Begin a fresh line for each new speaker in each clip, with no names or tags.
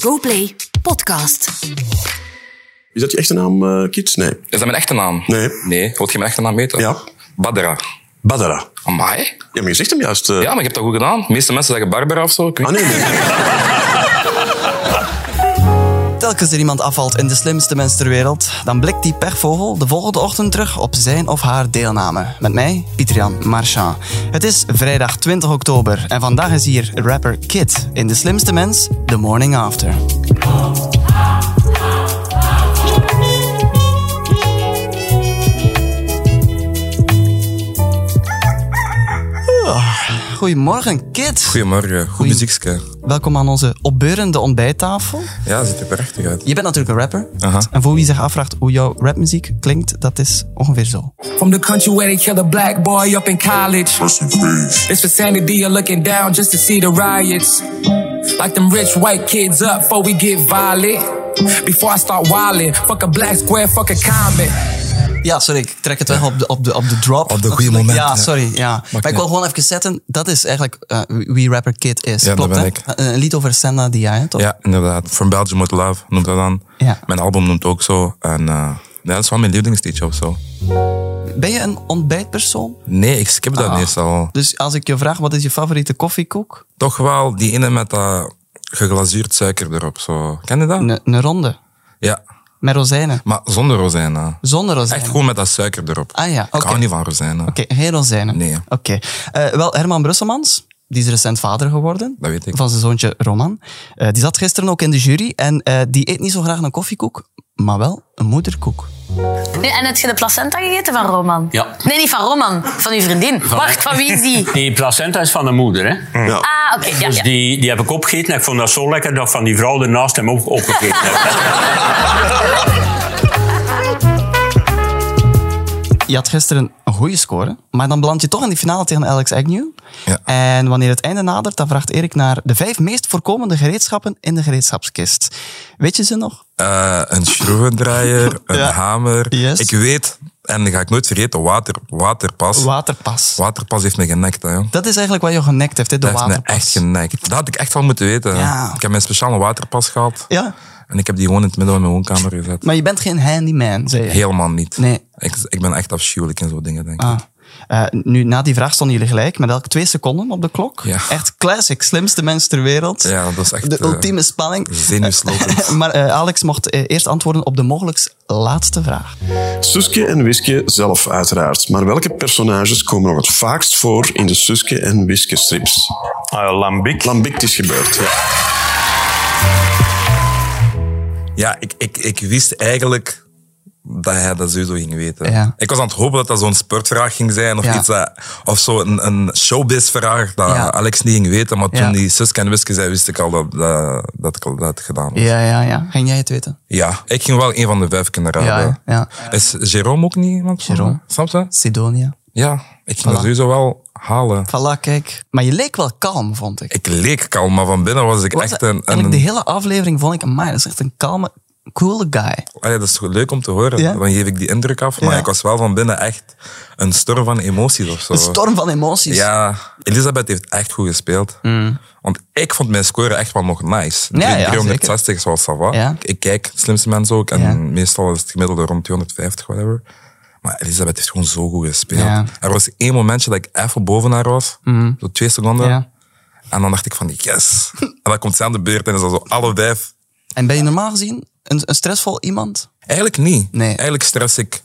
GoPlay Podcast.
Is dat je echte naam, eh, Kits? Nee.
Is dat mijn echte naam?
Nee.
Nee, wil je mijn echte naam weten?
Ja.
Badra.
Badara.
Amai.
Ja, maar je zegt hem juist. eh.
Ja, maar ik heb dat goed gedaan. De meeste mensen zeggen Barbara of zo. Ik weet
Ah, nee, nee.
Telkens er iemand afvalt in de slimste mens ter wereld, dan blikt die pechvogel de volgende ochtend terug op zijn of haar deelname. Met mij, Pietrian Marchand. Het is vrijdag 20 oktober en vandaag is hier rapper Kid in de slimste mens The Morning After. Ah, Goedemorgen, Kid.
Goedemorgen. Ah, Goed muziekske.
Welkom aan onze opbeurende ontbijttafel.
Ja, ziet er prachtig uit.
Je bent natuurlijk een rapper.
Aha.
En voor wie zich afvraagt hoe jouw rapmuziek klinkt, dat is ongeveer zo.
From the country where they killed a black boy up in college. This vicinity are looking down just to see the riots. Like them rich white kids up before we get violent. Before I start wildin', fuck a black square, fuck a comment.
Ja, sorry, ik trek het weg op de, op de, op de drop.
Op de goede
Natuurlijk.
moment,
Ja,
hè.
sorry. Ja. Maar ik
niet.
wil gewoon even zetten, dat is eigenlijk eh, wie rapper Kid is.
dat
Klopt,
ben
hè? Eh,
ik.
Een een lied over Senna die jij, hè, toch?
Ja, inderdaad. From Belgium with Love noemt dat dan.
Ja.
Mijn album noemt ook zo. En eh, ja, dat is wel mijn lievelingsliedje of zo.
Ben je een ontbijtpersoon?
Nee, ik skip dat
Ah.
meestal.
Dus als ik je vraag, wat is je favoriete koffiekoek?
Toch wel die ene met dat geglazuurd suiker erop. Zo. Ken je dat?
Een, een ronde.
Ja.
Met rozijnen.
Maar zonder rozijnen.
Zonder rozijnen.
Echt gewoon met dat suiker erop.
Ah ja,
Ik
oké.
hou niet van rozijnen.
Oké, geen rozijnen.
Nee.
Oké. Eh, wel, Herman Brusselmans, die is recent vader geworden.
Dat weet ik.
Van zijn zoontje Roman. Eh, die zat gisteren ook in de jury en eh, die eet niet zo graag een koffiekoek, maar wel een moederkoek.
Nee, en heb je de placenta gegeten van Roman?
Ja.
Nee, niet van Roman, van uw vriendin. Wacht, van wie is die?
Die placenta is van de moeder, hè?
Ja.
Ah, oké, ja,
Dus
ja.
die, die heb ik opgegeten en ik vond dat zo lekker dat van die vrouw ernaast hem ook opgegeten heeft.
Je had gisteren een goede score, maar dan beland je toch in die finale tegen Alex Agnew.
Ja.
En wanneer het einde nadert, dan vraagt Erik naar de vijf meest voorkomende gereedschappen in de gereedschapskist. Weet je ze nog?
Eh, een schroevendraaier, een
Ja.
hamer.
Yes.
Ik weet, en dat ga ik nooit vergeten, water, waterpas.
Waterpas.
waterpas heeft me genekt, hè. joh.
Dat is eigenlijk wat je genekt heeft, hè, de
Dat heeft me
waterpas.
echt genekt. Dat had ik echt wel moeten weten. hè.
Ja.
Ik heb mijn speciale waterpas gehad.
Ja,
En ik heb die gewoon in het midden van mijn woonkamer gezet.
maar je bent geen handyman, zei je.
Helemaal niet.
Nee.
Ik, ik ben echt afschuwelijk in zo'n dingen, denk ik.
Ah. Eh, nu, na die vraag stonden jullie gelijk, met elk twee seconden op de klok.
Ja.
Echt classic, slimste mens ter wereld.
Ja, dat is echt,
De
eh,
ultieme spanning.
zenuwslopend.
maar eh, Alex mocht eh, eerst antwoorden op de mogelijkst laatste vraag.
Suske en Wiske zelf, uiteraard. Maar welke personages komen nog het vaakst voor in de Suske en Wiske strips?
Lambiek.
Lambict is gebeurd. Ja.
Ja, ik, ik, ik wist eigenlijk dat hij dat sowieso ging weten.
Ja.
Ik was aan het hopen dat dat zo'n sportvraag ging zijn of
Ja.
iets dat, of zo een, een showbiz-vraag dat
Ja.
Alex niet ging weten. Maar toen
Ja.
die Suske en Wiske zei, wist ik al dat, dat, dat ik al dat had gedaan. Ja.
Ja, ja, ja. Ging jij het weten?
ik ging Ah, wel een van de vijf kunnen raden.
Ja, ja,
Is Jerome ook niet iemand? van-
Jerome.
Snap je?
Sidonia.
Ja, ik ging dat sowieso wel halen.
Voilà, kijk. Maar je leek wel kalm, vond ik.
Ik leek kalm, maar van binnen was ik
Was
echt
het-
een... een,
eigenlijk de hele aflevering vond ik, amai, dat is echt een kalme, coole guy.
Allee, dat is toch leuk om te horen.
Ja.
Dan geef ik die indruk af. Maar
Ja.
ik was wel van binnen echt een storm van emoties of zo.
Een storm van emoties.
Oh. Ja, Elisabeth heeft echt goed gespeeld. Want ik vond mijn score echt wel nog nice.
Mm. Ja, ja,
360 is wel sava.
Ja.
Ik, ik kijk slimste mensen ook. En
Ja.
meestal is het gemiddelde rond 250, whatever. Maar Elisabeth heeft gewoon zo goed gespeeld.
Ja. Mm.
Er was één momentje dat ik even boven haar was. Zo twee seconden.
Ja.
En dan dacht ik van, yes. en dan komt ze aan de beurt en is dan zo alle vijf
En ben je normaal gezien een, een stressvol iemand?
Eigenlijk niet.
Nee.
Eigenlijk stress ik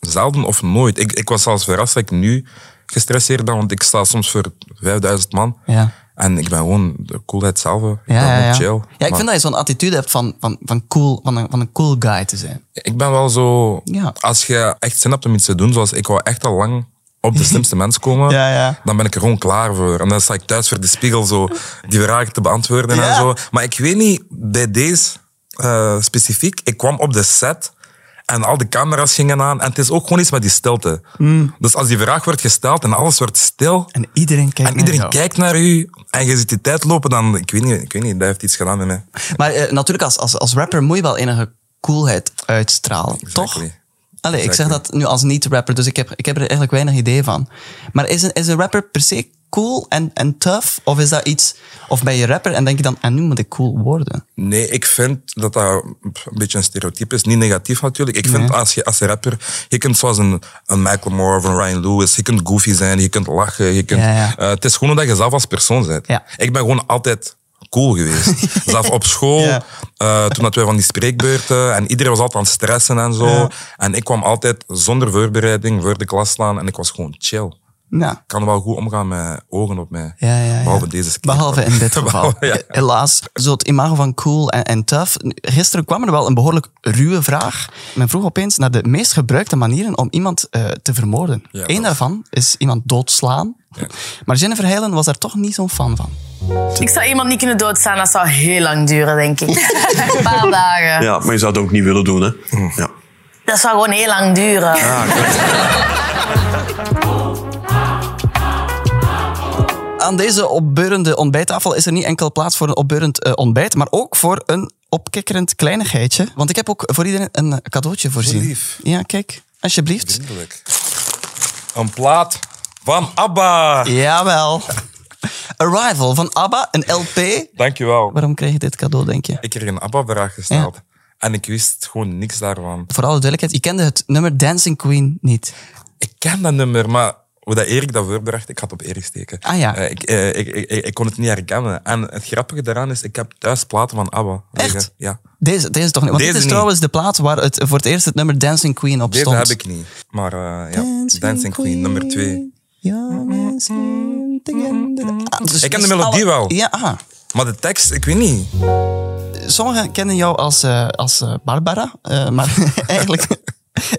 zelden of nooit. Ik, ik was zelfs verrast dat ik nu gestresseerd ben, want ik sta soms voor 5000 man.
Ja.
En ik ben gewoon de coolheid zelf. Ik ben
Ja, ja,
gewoon
ja.
chill.
ja ik
Maar
vind dat je zo'n attitude hebt van, van, van, cool, van, een, van een cool guy te zijn.
ik ben wel zo...
Ja.
Als je echt zin hebt om iets te doen, zoals ik wou echt al lang op de slimste mens komen,
Ja, ja.
dan ben ik er gewoon klaar voor. En dan sta ik thuis voor de spiegel zo die vragen te beantwoorden
Ja.
en zo. Maar ik weet niet, bij deze eh, specifiek, ik kwam op de set en al de camera's gingen aan. En het is ook gewoon iets met die stilte.
Mm.
Dus als die vraag wordt gesteld en alles wordt stil,
En iedereen kijkt
en iedereen
naar jou.
kijkt naar u en je ziet die tijd lopen, dan, ik weet niet, ik weet niet dat heeft iets gedaan met mij.
Maar eh, natuurlijk, als, als, als rapper moet je wel enige coolheid uitstralen, toch?
Exactly.
Allee, ik zeg
Exactly.
dat nu als niet-rapper, dus ik heb, ik heb er eigenlijk weinig idee van. Maar is een, is een rapper per se cool en, en tough? Of is dat iets... Of ben je rapper en denk je dan, en nu moet ik cool worden?
Nee, ik vind dat dat een beetje een stereotype is. Niet negatief natuurlijk. Ik vind
Nee.
als je als rapper, je kunt zoals een, een Michael Moore of een Ryan Lewis, je kunt goofy zijn, je kunt lachen, je kunt,
Ja, ja.
eh, het is gewoon dat je zelf als persoon bent.
Ja.
Ik ben gewoon altijd cool geweest. zelf op school,
Ja.
eh, toen dat wij van die spreekbeurten en iedereen was altijd aan het stressen en zo. En ik kwam altijd zonder voorbereiding voor de klas staan en ik was gewoon chill.
Nou,
Ik kan wel goed omgaan met ogen op mij.
Ja, ja, ja.
Behalve deze keer.
Behalve in dit geval.
Behalve, ja.
Helaas, zo het imago van cool en, en tough. Gisteren kwam er wel een behoorlijk ruwe vraag. Men vroeg opeens naar de meest gebruikte manieren om iemand eh, te vermoorden.
Ja,
Eén
dat-
daarvan is iemand doodslaan. Maar Jennifer Heilen was daar toch niet zo'n fan van.
Ik zou iemand niet kunnen doodstaan, dat zou heel lang duren, denk ik. Een paar dagen.
Ja, maar je zou het ook niet willen doen, hè? Ja.
Dat zou gewoon heel lang duren.
Aan deze opbeurende ontbijttafel is er niet enkel plaats voor een opbeurend eh, ontbijt, maar ook voor een opkikkerend kleinigheidje. Want ik heb ook voor iedereen een cadeautje voorzien.
lief.
Ja, kijk, alsjeblieft.
Eindelijk. Een plaat van ABBA.
Jawel. Arrival van ABBA, een LP.
Dankjewel.
Waarom kreeg je dit cadeau, denk je?
Ik kreeg een ABBA-vraag gesteld. En ik wist gewoon niks daarvan.
Voor alle duidelijkheid, je kende het nummer Dancing Queen niet.
Ik ken dat nummer, maar hoe dat Erik dat voorbracht, ik had op Erik steken.
Ah, ja.
Eh, ik, eh, ik, ik, ik, ik kon het niet herkennen. En het grappige daaraan is, ik heb thuis platen van ABBA. liggen.
Echt?
Ja.
Deze, deze toch niet? Want dit
Deze
is
niet.
trouwens de plaats waar het voor het eerst het nummer Dancing Queen op
Deze
stond.
heb ik niet. Maar eh, ja, Dancing, Queen, nummer twee.
You're something- Ah, dus
Ik ken de
dus
melodie
alle-
wel.
Ja, ah.
Maar de tekst, ik weet niet.
Sommigen kennen jou als, eh, als eh, Barbara, eh, maar eigenlijk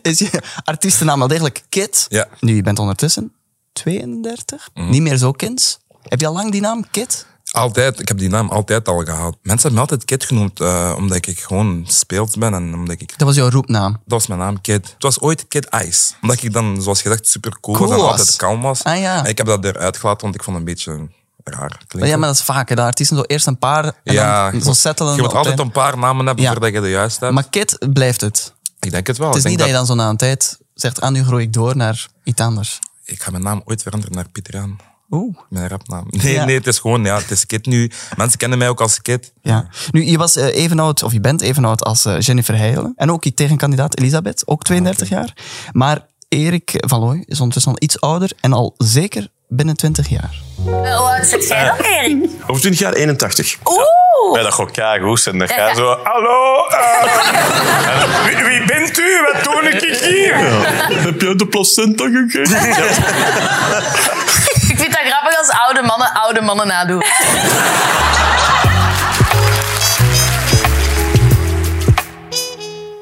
is je artiestennaam wel degelijk Kit.
Ja. Mhm.
Nu, je bent ondertussen 32, niet meer zo kinds. Heb je al lang die naam, Kit?
Altijd, ik heb die naam altijd al gehad. Mensen hebben me altijd Kid genoemd, eh, omdat ik gewoon speelt ben en omdat ik
Dat was jouw roepnaam.
Dat was mijn naam, Kid. Het was ooit Kid Ice. Omdat ik dan, zoals gezegd, super cool,
Cool
was en
was.
altijd kalm was.
Ah, ja. Oh
En ik heb dat eruit gelaten, want ik vond het een beetje raar klinken.
Ja, maar dat is vaker. De artiesten zo eerst een paar en
Ja,
dan
je
zo
moet-
settelen.
Je moet
op
altijd
de-
een paar namen hebben
Ja.
voordat je de juiste hebt.
Maar Kit blijft het.
ik denk het wel.
Het is
ik,
niet
denk
dat je dan zo na een tijd zegt, ah, nu groei ik door naar iets anders.
ik ga mijn naam ooit veranderen naar Pieter Jan.
Oeh.
Mijn rapnaam. Nee,
Ja.
nee, het is gewoon, ja, het is Kid nu. Mensen kennen mij ook als Kid.
Ja. Nu, je was eh, even oud, of je bent even oud als eh, Jennifer Heijlen. En ook je tegenkandidaat Elisabeth, ook 32
Ah,
jaar. Maar Erik van Looy is ondertussen al iets ouder en al zeker binnen 20 jaar.
Eh, Hoe oud zit jij dan, Erik?
Over 20 jaar 81.
Oeh!
Ja, dat gaat keigoed zijn. Dan ga
ja.
je zo... Hallo? eh, wie, wie bent u? Wat doe ik hier?
Heb jij de placenta gegeven?
Ik vind dat grappig als oude mannen oude mannen nadoen.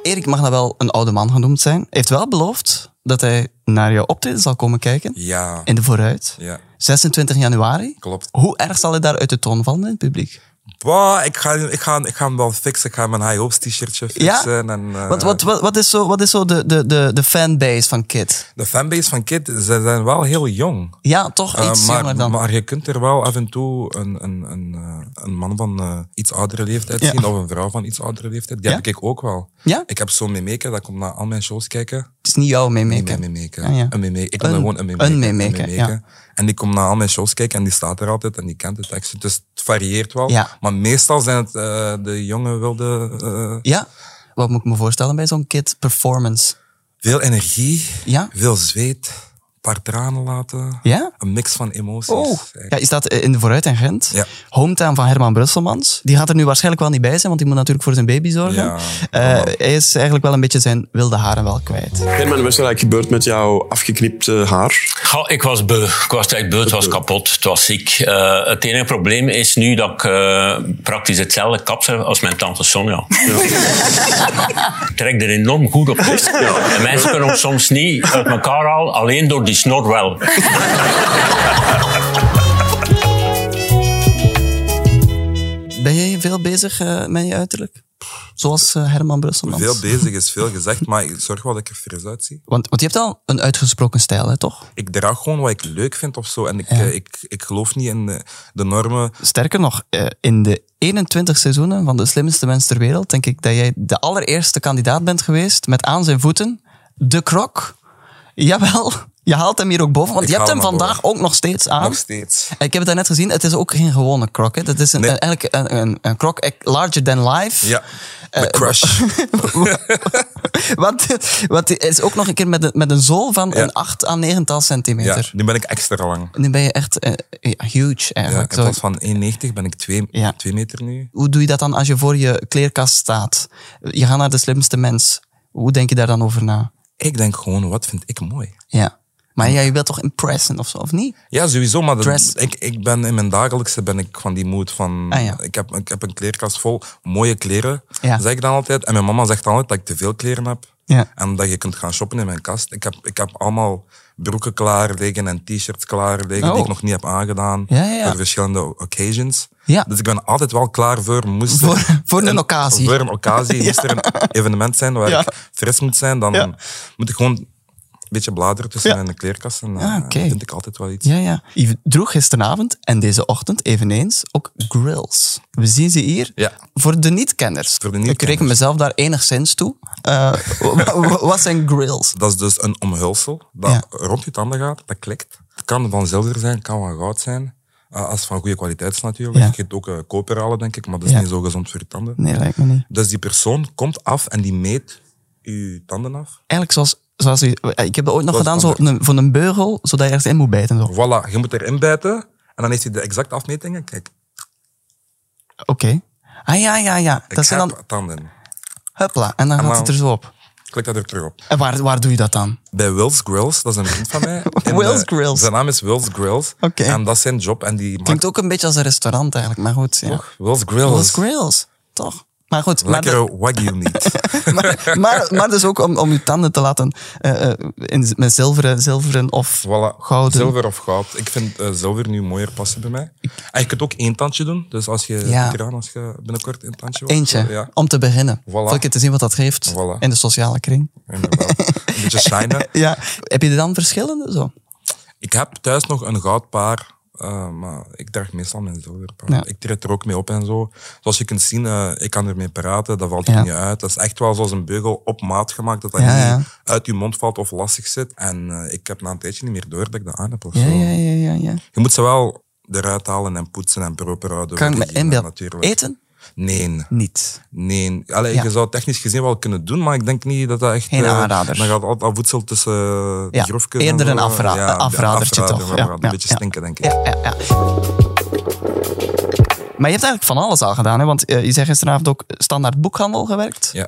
Erik mag dan wel een oude man genoemd zijn. Hij heeft wel beloofd dat hij naar jouw optreden zal komen kijken.
Ja.
In de vooruit.
Ja.
26 januari.
Klopt.
Hoe erg zal hij daar uit de toon vallen in het publiek?
Bah, ik, ga, ik, ga, ik ga hem wel fixen. Ik ga mijn high hopes t-shirtje
Ja?
fixen. En, eh,
Wat, wat, wat, wat is zo, wat is zo de, de, de, de fanbase van Kid?
De fanbase van Kid, ze zijn wel heel jong.
Ja, toch
Eh,
iets jonger
maar,
dan.
maar je kunt er wel af en toe een, een, een, eh, een man van eh, iets oudere leeftijd
Ja.
zien of een vrouw van iets oudere leeftijd. Die
Ja?
heb ik ook wel.
Ja?
Ik heb zo'n meemaker, dat komt naar al mijn shows kijken.
het is niet jouw
Een
meemaker.
meemaker.
Ah, ja.
Een meemaker. Ik noem
Een-
dat gewoon een meemaker.
een meemaker, ja.
En die komt naar al mijn shows kijken en die staat er altijd en die kent de teksten. Dus het varieert wel.
Ja.
Maar meestal zijn het eh, de jonge wilde... eh,
Ja? Wat moet ik me voorstellen bij zo'n Kid performance?
veel energie,
Ja?
veel zweet, een paar tranen laten.
Ja?
Een mix van emoties. eigenlijk.
Ja, je staat eh, in de vooruit en Gent.
Ja.
Hometown van Herman Brusselmans. Die gaat er nu waarschijnlijk wel niet bij zijn, want die moet natuurlijk voor zijn baby zorgen.
Ja,
Eh, hij is eigenlijk wel een beetje zijn wilde haren wel kwijt.
Herman, wat is er eigenlijk gebeurd met jouw afgeknipte haar?
Goh, ik was beu. Ik was echt beu. Het was kapot. Het was ziek. Eh, het enige probleem is nu dat ik eh, praktisch hetzelfde kap heb als mijn tante Sonja. ik trek er enorm goed op. En mensen kunnen ons soms niet uit elkaar halen, alleen door die snor wel.
Ben jij veel bezig eh, met je uiterlijk? Zoals eh, Herman Brusselmans.
Veel bezig is veel gezegd, maar ik zorg wel dat ik er fris uitzie.
Want, want je hebt al een uitgesproken stijl, hè, toch?
ik draag gewoon wat ik leuk vind of zo. En ik, eh, ik, ik geloof niet in de, de normen.
Sterker nog, eh, in de 21 seizoenen van De Slimste Mens ter Wereld denk ik dat jij de allereerste kandidaat bent geweest met aan zijn voeten de krok. Jawel, Je haalt hem hier ook boven, want
Ik
je hebt
haal
hem
hem
vandaag ook nog steeds aan.
Nog steeds.
Ik heb het daarnet gezien, het is ook geen gewone krok. Hè. Het is een,
Nee.
een- eigenlijk een, een, een krok eh, larger than life.
Ja.
Eh,
The crush.
Wat, wat is ook nog een keer met een, met een zool van
Ja.
een 8 à 9
ja,
centimeter.
nu ben ik extra lang.
Nu ben je echt eh, ja, huge
Ja, in
eigenlijk. Zo-
plaats van 1,90 ben ik 2
Ja.
meter nu.
hoe doe je dat dan als je voor je kleerkast staat? Je gaat naar de slimste mens. Hoe denk je daar dan over na?
Ik denk gewoon, wat vind ik mooi?
Ja. Maar ja, je wilt toch impressen of zo, of niet?
Ja, sowieso, maar dat-
Dress.
ik, ik ben in mijn dagelijkse ben ik van die mood van...
Ah, ja.
ik, heb, ik heb een kleerkast vol mooie kleren,
Ja.
zeg ik dan altijd. En mijn mama zegt altijd dat ik te veel kleren heb.
Ja.
En dat je kunt gaan shoppen in mijn kast. Ik heb, ik heb allemaal broeken klaar liggen en t-shirts klaar liggen
Oh.
die ik nog niet heb aangedaan.
Ja, ja, ja.
Voor verschillende occasions.
Ja.
Dus ik ben altijd wel klaar voor... Moest er
Voor- voor een occasie.
Voor een occasie. Moest er een evenement zijn waar
Ja.
ik fris moet zijn, dan
Ja.
moet ik gewoon een beetje bladeren tussen
Ja.
mijn kleerkast. En
Ah,
eh,
oké.
vind ik altijd wel iets.
Ja, ja. Je droeg gisteravond en deze ochtend eveneens ook grills. We zien ze hier.
Ja.
Voor de niet-kenners.
Voor de
Ik
niet-kenners.
reken mezelf daar enigszins toe. Eh, wa- wa- wat zijn grills?
Dat is dus een omhulsel dat
Ja.
rond je tanden gaat, dat klikt. Het kan van zilver zijn, het kan van goud zijn. Eh, als het van goede kwaliteit is natuurlijk.
Ja.
Je kunt ook eh, koper halen, denk ik, maar dat is
Ja.
niet zo gezond voor je tanden.
Nee, lijkt me niet.
Dus die persoon komt af en die meet je tanden af.
Eigenlijk zoals... zoals u- eh, ik heb dat ooit nog
Zoals
gedaan zo,
anders.
een- van een beugel, zodat je ergens in moet bijten. Zo. Oké.
Voilà, je moet erin bijten. En dan heeft hij de exacte afmetingen. Kijk,
Ah ja, ja, ja.
ik
Dat zijn
heb
dan...
tanden.
Huppla. En dan gaat
dan-
het er zo op.
Klik dat er terug op.
En waar, waar doe je dat dan?
Bij Wills Grills, dat is een vriend van mij. En,
Will's
eh,
Grills.
Zijn naam is Wills Grills.
Oké.
En dat is zijn job. En die maakt
Klinkt ook een beetje als een restaurant eigenlijk, maar goed. Ja.
toch Wills Grills.
Will's Grills, toch? Maar goed, maar,
Lekkere
de-
wagyu meat.
maar, maar, maar dus ook om, om je tanden te laten eh, eh, in, met zilveren, zilveren of
Voilà.
gouden.
Zilver of goud. Ik vind eh, zilver nu mooier passen bij mij. En je kunt ook één tandje doen. Dus als je,
Ja.
Tiraan, als je binnenkort een tandje wilt,
Eentje,
Ja,
om te beginnen. Voor een keer te zien wat dat geeft
Voilà.
in de sociale kring.
inderdaad. Een beetje shinen.
Ja. Heb je er dan verschillende zo?
Ik heb thuis nog een goud paar. eh, maar ik draag meestal mijn zilverpaar.
Ja.
Ik treed er ook mee op en zo. Zoals je kunt zien, eh, ik kan ermee praten. Dat valt
Ja.
er niet uit. Dat is echt wel zoals een beugel op maat gemaakt. Dat dat
Ja,
niet
ja.
uit je mond valt of lastig zit. En eh, ik heb na een tijdje niet meer door dat ik dat aan heb. Of
Ja,
zo.
ja, ja, ja. ja.
Je moet ze wel eruit halen en poetsen en proper houden.
Kan ik
voor
me
hygiëne
inbeelden?
natuurlijk.
Eten?
Nee,
Niet.
nee. Allee,
Ja.
Je zou het technisch gezien wel kunnen doen, maar ik denk niet dat dat echt...
Geen
eh,
aanrader.
Dan gaat altijd al voedsel tussen de
Ja,
grofkes en
eerder
zo. eh,
een afra-
Ja,
afradertje
afrader,
toch.
afrader.
Ja,
Een
ja,
beetje
ja.
stinken, denk ik.
Ja, ja, ja. Maar je hebt eigenlijk van alles al gedaan, hè? want eh, je zei gisteravond ook standaard boekhandel gewerkt,
Ja,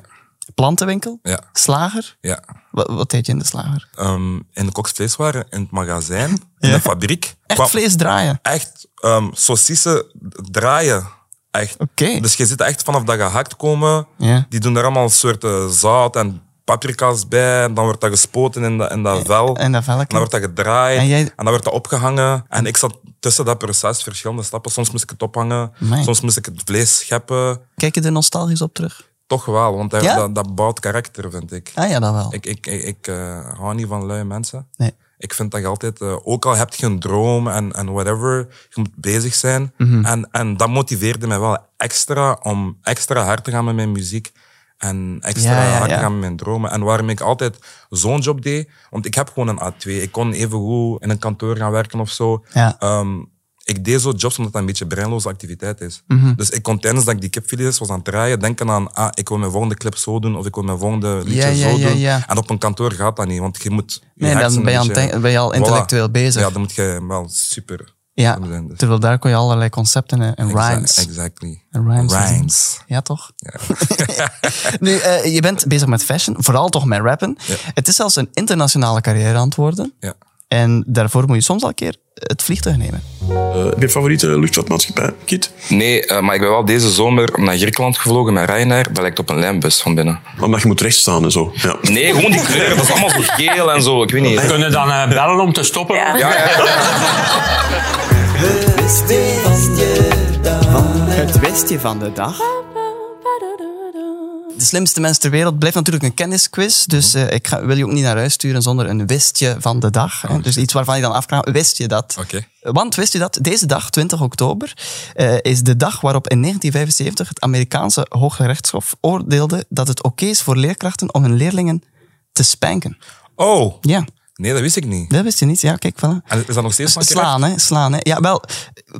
plantenwinkel,
ja,
slager.
ja.
Wa- Wat, deed je in de slager?
Ehm, in de koksvleeswaren, in het magazijn, in de fabriek.
Echt
kwam
vlees draaien.
Echt ehm saucissen draaien. Echt.
Oké.
Dus je zit echt vanaf dat gehakt komen.
Ja.
Die doen er allemaal soorten zout en paprika's bij. En dan wordt dat gespoten in dat, in dat vel.
Eh, in dat velletje.
En dan wordt dat gedraaid.
En
En,
jij-
dan wordt dat opgehangen. En ik zat tussen dat proces verschillende stappen. Soms moest ik het ophangen.
Amai.
Soms moest ik het vlees scheppen.
Kijk je er nostalgisch op terug?
Toch wel, want dat,
Ja?
dat, dat bouwt karakter, vind ik.
Ah ja, dat wel.
Ik, ik, ik, ik eh, hou niet van lui mensen.
Nee.
Ik vind dat je altijd, eh, ook al heb je een droom en, en whatever, je moet bezig zijn.
Mhm.
En, en dat motiveerde mij wel extra om extra hard te gaan met mijn muziek. En extra
Ja, ja,
hard
ja.
te gaan met mijn dromen. En waarom ik altijd zo'n job deed, want ik heb gewoon een A2. Ik kon even goed in een kantoor gaan werken of zo.
Ja.
Ehm, ik deed zo jobs omdat dat een beetje breinloze activiteit is.
Mhm.
Dus ik kon tijdens dat ik die kipfilets was aan het draaien, denken aan, ah, ik wil mijn volgende clip zo doen, of ik wil mijn volgende liedje
ja,
zo
ja,
doen.
ja.
En op een kantoor gaat dat niet, want je moet... je
Nee, dan
hersenen
ben je
een
aan het
beetje-
denken- ben je al intellectueel bezig.
Ja, dan moet je wel super...
Ja,
zijn, dus.
terwijl daar kon je allerlei concepten en, en
Exa-
rhymes.
Exactly.
En rhymes.
Rhymes.
Ja, toch? nu, eh, je bent bezig met fashion, vooral toch met rappen. Het is zelfs een internationale carrière aan het worden.
Ja.
En daarvoor moet je soms al een keer het vliegtuig nemen.
Eh, heb je favoriete luchtvaartmaatschappij, Kit?
Nee, eh, maar ik ben wel deze zomer naar Griekenland gevlogen met Ryanair. Dat lijkt op een lijnbus van binnen.
Omdat je moet rechtstaan en zo. Ja.
Nee, gewoon die kleuren. Dat is allemaal zo geel en zo. Ik weet niet.
Kunnen dan eh, bellen om te stoppen?
Ja, ja, ja.
Het westje van de dag. De slimste mens ter wereld blijft natuurlijk een kennisquiz. Dus eh, ik ga, wil je ook niet naar huis sturen zonder een wistje van de dag. hè. Dus iets waarvan je dan afvraagt, wist je dat?
Oh, Oké.
Want wist je dat? Deze dag, 20 oktober, eh, is de dag waarop in 1975 het Amerikaanse Hoge Rechtshof oordeelde dat het oké is voor leerkrachten om hun leerlingen te spanken.
Oh,
Ja.
Nee, dat wist ik niet.
Dat wist je niet. Ja, kijk, voilà.
En is dat nog steeds van karakter?
Slaan, hè? Slaan, hè? Ja, wel.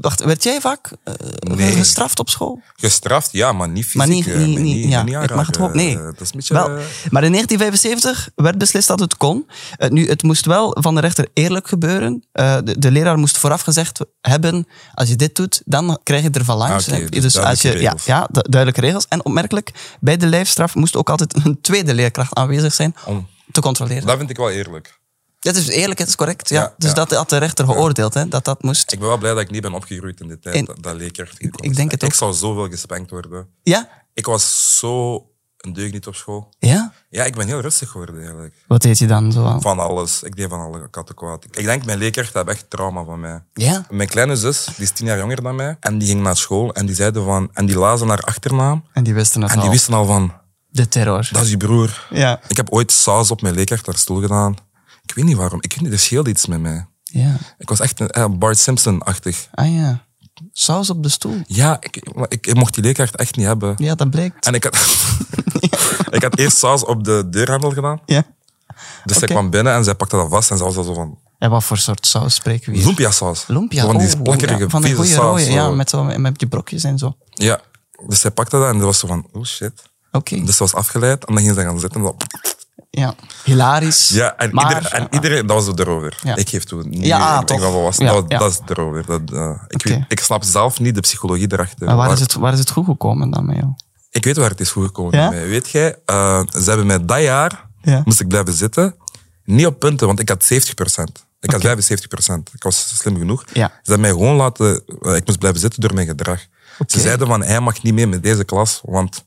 Wacht, werd jij vaak eh,
Nee.
gestraft op school?
Gestraft, ja, maar niet fysiek.
maar niet,
eh,
niet, niet, ja, ik
aanraken.
mag het ook. Nee.
Eh, Dat is een beetje...
wel.
eh,
Maar in 1975 werd beslist dat het kon. Eh, nu, het moest wel van de rechter eerlijk gebeuren. Eh, de, de leraar moest vooraf gezegd hebben, als je dit doet, dan krijg je er van langs.
Ah, oké,
Eh,
dus
als je,
duidelijke
ja,
regels.
ja, du- duidelijke regels. En opmerkelijk, bij de lijfstraf moest ook altijd een tweede leerkracht aanwezig zijn om te controleren.
dat vind ik wel eerlijk.
Dat is dus eerlijk, het is correct. Ja.
Ja,
dus
ja.
dat had de rechter geoordeeld, hè, dat dat moest.
Ik ben wel blij dat ik niet ben opgegroeid in die tijd.
En-
dat, dat leker.
ik denk het ook.
Ik zou zoveel gespankt worden.
Ja?
Ik was zo een deugniet op school.
Ja?
Ja, ik ben heel rustig geworden eigenlijk.
Wat deed je dan zoal?
Van alles. Ik deed van alle katten kwaad. Ik denk, mijn leerkracht heeft echt trauma van mij.
Ja?
Mijn kleine zus, die is tien jaar jonger dan mij, en die ging naar school en die zeiden van, en die lazen haar achternaam.
En die wisten het
En die
al.
wisten al van,
De terror.
dat is je broer.
Oh. Ja.
Ik heb ooit saus op mijn leerkracht haar stoel gedaan. Ik weet niet waarom. Ik weet niet, er scheelde iets met mij.
Ja.
Ik was echt een eh, Bart Simpson-achtig.
Ah ja. Saus op de stoel.
Ja, ik, maar ik, ik mocht die leerkracht echt niet hebben.
Ja, dat blijkt.
En ik had, ik had eerst saus op de deurhandel gedaan.
Ja.
Dus
Oké.
zij kwam binnen en zij pakte dat vast en ze was al zo van
En wat voor soort saus spreken we hier?
lumpia-saus.
Lumpia.
Zo Van die
oh,
plakkerige,
ja, Van een
vieze
goede
saus.
rode,
zo.
ja, met, zo, met die brokjes en zo. Oké.
Ja. Dus zij pakte dat en dat was zo van, oh shit. Dus ze was afgeleid en dan ging ze gaan zitten. en dat-
Ja. Hilarisch.
Ja, en,
maar-
iedereen, en iedereen, dat was het erover.
Ja.
Ik geef toe. nu
Ja, ah,
ik ben
toch.
volwassen.
Ja,
dat,
ja.
dat is het erover. Dat, eh, ik,
Oké.
weet, ik snap zelf niet de psychologie erachter.
Maar waar is,
Maar
het, waar is het goed gekomen dan met jou?
Ik weet waar het is goed gekomen.
Ja?
bij mij. Weet jij, eh, ze hebben mij dat jaar,
Ja.
moest ik blijven zitten. Niet op punten, want ik had 70%. Ik had 75%. Ik was slim genoeg.
Ja.
Ze hebben mij gewoon laten... eh, ik moest blijven zitten door mijn gedrag.
Oké.
Ze zeiden van, hij mag niet mee met deze klas, want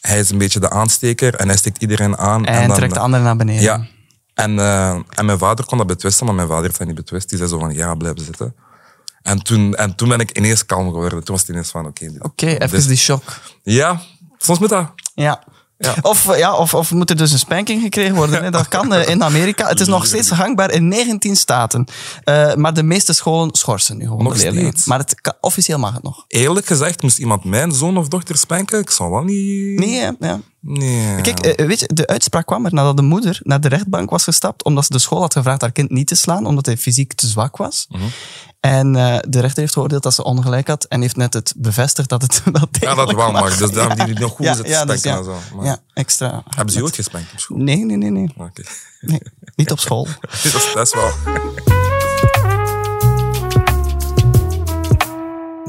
hij is een beetje de aansteker en hij steekt iedereen aan.
En,
dan-
trekt de ander naar beneden.
ja. En, eh, en mijn vader kon dat betwisten, maar mijn vader heeft dat niet betwist. Die zei zo van, ja, blijf zitten. En toen, en toen ben ik ineens kalm geworden. Toen was het ineens van, oké. dit-
Oké, even
dit-
die shock.
Ja, soms moet dat.
Ja. Of, eh, ja, of, of moet er dus een spanking gekregen worden? Hè? Dat kan eh, in Amerika. Het is nog steeds gangbaar in 19 staten. Eh, maar de meeste scholen schorsen nu gewoon
Nog
de leerlingen.
steeds.
Maar het, kan- officieel mag het nog.
Eerlijk gezegd, moest iemand mijn zoon of dochter spanken? Ik zou wel niet...
Nee, hè? ja.
Nee.
Kijk, eh, weet je, de uitspraak kwam er nadat de moeder naar de rechtbank was gestapt omdat ze de school had gevraagd haar kind niet te slaan omdat hij fysiek te zwak was.
Mhm.
En eh, de rechter heeft geoordeeld dat ze ongelijk had en heeft net het bevestigd dat het wel
ja,
degelijk
dat wel mag. Dus daarom
Ja.
die nog goed
Ja,
zit te
ja,
spanken
dus ja.
en zo. Maar
Ja, extra. hard
Hebben ze je
met-
ooit gespankt op school?
Nee, nee, nee, nee.
Oké.
nee. Niet op school.
dat, is, dat is wel...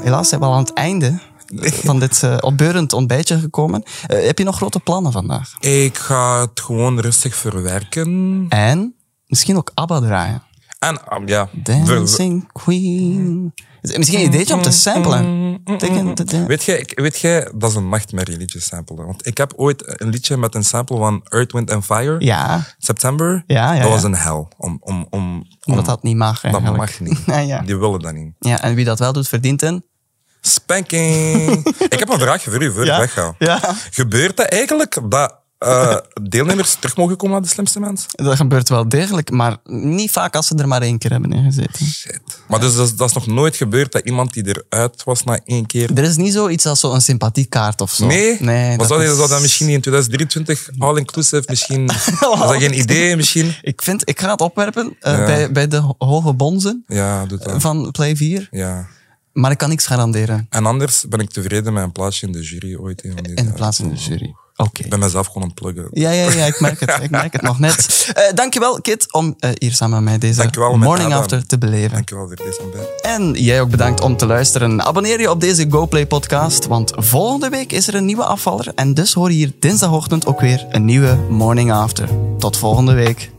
Helaas zijn we al aan het einde van dit eh, opbeurend ontbijtje gekomen. Eh, heb je nog grote plannen vandaag?
Ik ga het gewoon rustig verwerken.
En misschien ook ABBA draaien.
En, ah, ja. Ver-
Dancing Queen. Is er Misschien een ideetje om te samplen. Tikken, da, da.
Weet jij, ik- weet jij, dat is een nachtmerrie liedje samplen. Want ik heb ooit een liedje met een sample van Earth, Wind and Fire.
Ja,
September.
Ja, ja,
dat was
ja.
een hel. Om, om, om, om-
omdat dat niet mag
dat
eigenlijk.
mag niet.
Ja, ja.
Die willen dat niet.
Ja, en wie dat wel doet, verdient een...
Spanking. ik heb een vraagje voor u voor ik
Ja.
wegga.
Ja.
Gebeurt dat eigenlijk dat eh, deelnemers terug mogen komen naar de slimste mens?
Dat gebeurt wel degelijk, maar niet vaak als ze er maar één keer hebben ingezeten.
Shit. Maar dus, dat, is, dat is nog nooit gebeurd dat iemand die eruit was na één keer.
Er is niet zoiets als zo'n sympathiekaart of zo.
Nee, maar
dat
zou,
is-
zou dat misschien niet in 2023 all-inclusive misschien... was dat geen idee misschien?
Ik, vind, ik ga het opwerpen eh,
Ja.
bij, bij de ho- hoge bonzen eh,
Ja, doe dat.
van Play 4,
Ja.
maar ik kan niks garanderen
En anders ben ik tevreden met een plaatsje in de jury ooit. een van die
in de
dagen.
plaats van de jury. Oké.
Ik ben mezelf gewoon aan het pluggen.
Ja, ja, ja, ik merk het. Ik merk het nog net. Eh dankjewel, Kit, om eh, hier samen met mij deze
Dankjewel, met
morning
Adam.
after te beleven.
Dankjewel voor deze ontbijt.
En jij ook bedankt om te luisteren. Abonneer je op deze GoPlay-podcast, want volgende week is er een nieuwe afvaller. En dus hoor je hier dinsdagochtend ook weer een nieuwe morning after. Tot volgende week.